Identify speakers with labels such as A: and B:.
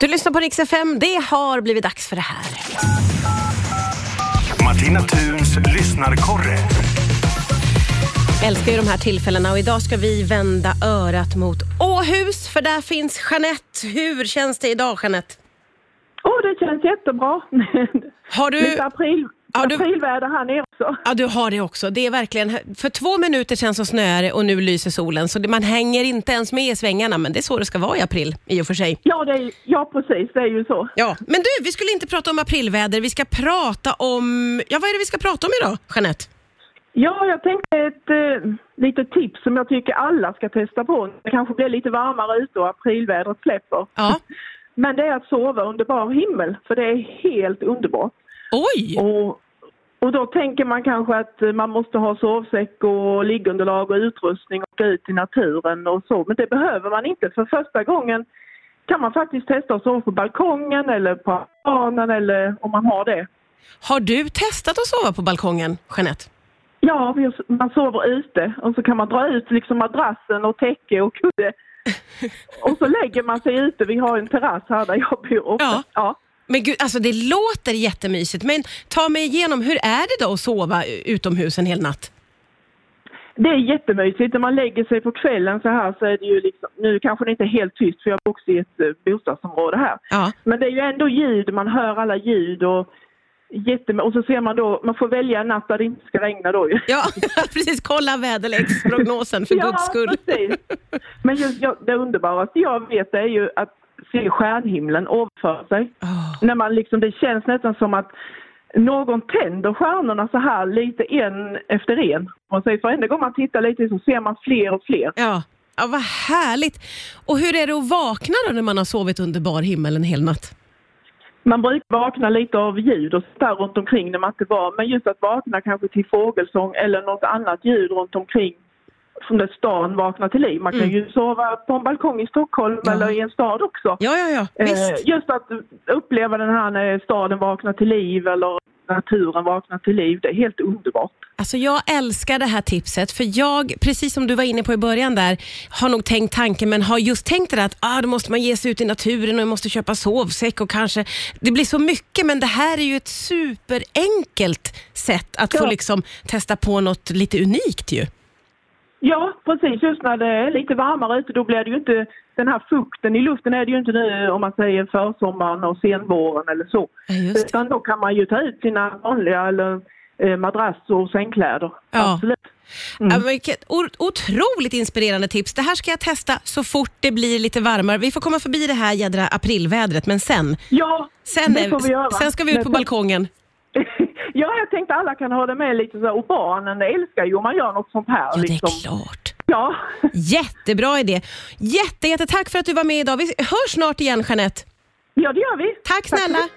A: Du lyssnar på Rix FM. Det har blivit dags för det här.
B: Martina Thuns lyssnarkorre.
A: Jag älskar ju de här tillfällena och idag ska vi vända örat mot Åhus för där finns Jeanette. Hur känns det idag Jeanette?
C: Åh, det känns jättebra.
A: Har du...
C: Lite april,
A: Ja, du-
C: aprilväder här nere också.
A: Ja, du har det också. Det är verkligen... För två minuter sedan så snöade det och nu lyser solen så det- man hänger inte ens med i svängarna men det är så det ska vara i april i och för sig.
C: Ja, det är, ja, precis, det är ju så.
A: Ja, men du, vi skulle inte prata om aprilväder. Vi ska prata om... Ja, vad är det vi ska prata om idag, Jeanette?
C: Ja, jag tänkte ett eh, litet tips som jag tycker alla ska testa på. Det kanske blir lite varmare ute och aprilvädret släpper.
A: Ja.
C: Men det är att sova under bar himmel, för det är helt underbart.
A: Oj!
C: Och, och då tänker man kanske att eh, man måste ha sovsäck och liggunderlag och utrustning och gå ut i naturen och så. Men det behöver man inte. För första gången kan man faktiskt testa att sova på balkongen eller på planen eller om man har det.
A: Har du testat att sova på balkongen, Jeanette?
C: Ja, vi- man sover ute och så kan man dra ut liksom madrassen och täcke och kudde. Och så lägger man sig ute. Vi har en terrass här där jag bor. också.
A: Ja.
C: Ja.
A: Men gud, alltså det låter jättemysigt, men ta mig igenom, hur är det då att sova utomhus en hel natt?
C: Det är jättemysigt. När man lägger sig på kvällen så här så är det ju liksom, nu kanske det inte är helt tyst för jag bor också i ett eh, bostadsområde här.
A: Ja.
C: Men det är ju ändå ljud, man hör alla ljud och jättem- och så ser man då, man får välja en natt där det inte ska regna då ju.
A: Ja, precis. Kolla väderleksprognosen för guds skull.
C: precis. Men just, jag, det underbaraste jag vet är ju att se stjärnhimlen ovanför sig.
A: Åh,
C: När man liksom, det känns nästan som att någon tänder stjärnorna så här lite en efter en. Man säger, varenda gång man tittar lite så ser man fler och fler.
A: Ja. ja, vad härligt. Och hur är det att vakna då när man har sovit under bar himmel en hel natt?
C: Man brukar vakna lite av ljud och sånt där runt omkring när man inte var, men just att vakna kanske till fågelsång eller något annat ljud runt omkring som när stan vaknar till liv. Man kan ju sova på en balkong i Stockholm
A: Mm. Ja.
C: eller i en stad också.
A: Ja, ja, ja.
C: Eh,
A: Visst.
C: just att uppleva den här när staden vaknar till liv eller naturen vaknar till liv, det är helt underbart.
A: Alltså jag älskar det här tipset för jag, precis som du var inne på i början där, har nog tänkt tanken men har just tänkt det där att ah, då måste man ge sig ut i naturen och jag måste köpa sovsäck och kanske, det blir så mycket men det här är ju ett superenkelt sätt att få
C: Ja.
A: liksom testa på något lite unikt ju.
C: Ja, precis. Just när det är lite varmare ute, då blir det ju inte den här fukten i luften är det ju inte nu om man säger försommaren och senvåren eller så.
A: Ja, just det.
C: Utan då kan man ju ta ut sina vanliga eller eh, madrasser och sängkläder.
A: Ja.
C: Absolut. Mm.
A: Ja, men vilket o- otroligt inspirerande tips. Det här ska jag testa så fort det blir lite varmare. Vi får komma förbi det här jädra aprilvädret men sen,
C: Ja,
A: sen,
C: det
A: är-
C: får vi göra.
A: sen ska vi ut på
C: Men-
A: balkongen.
C: ja, jag tänkte alla kan hålla med lite så här, och barnen älskar ju om man gör något sånt här.
A: Ja, det
C: liksom.
A: är klart.
C: Ja,
A: Jättebra idé. Jätte, jätte, tack för att du var med idag. Vi hörs snart igen, Jeanette.
C: ja det gör vi.
A: Tack snälla.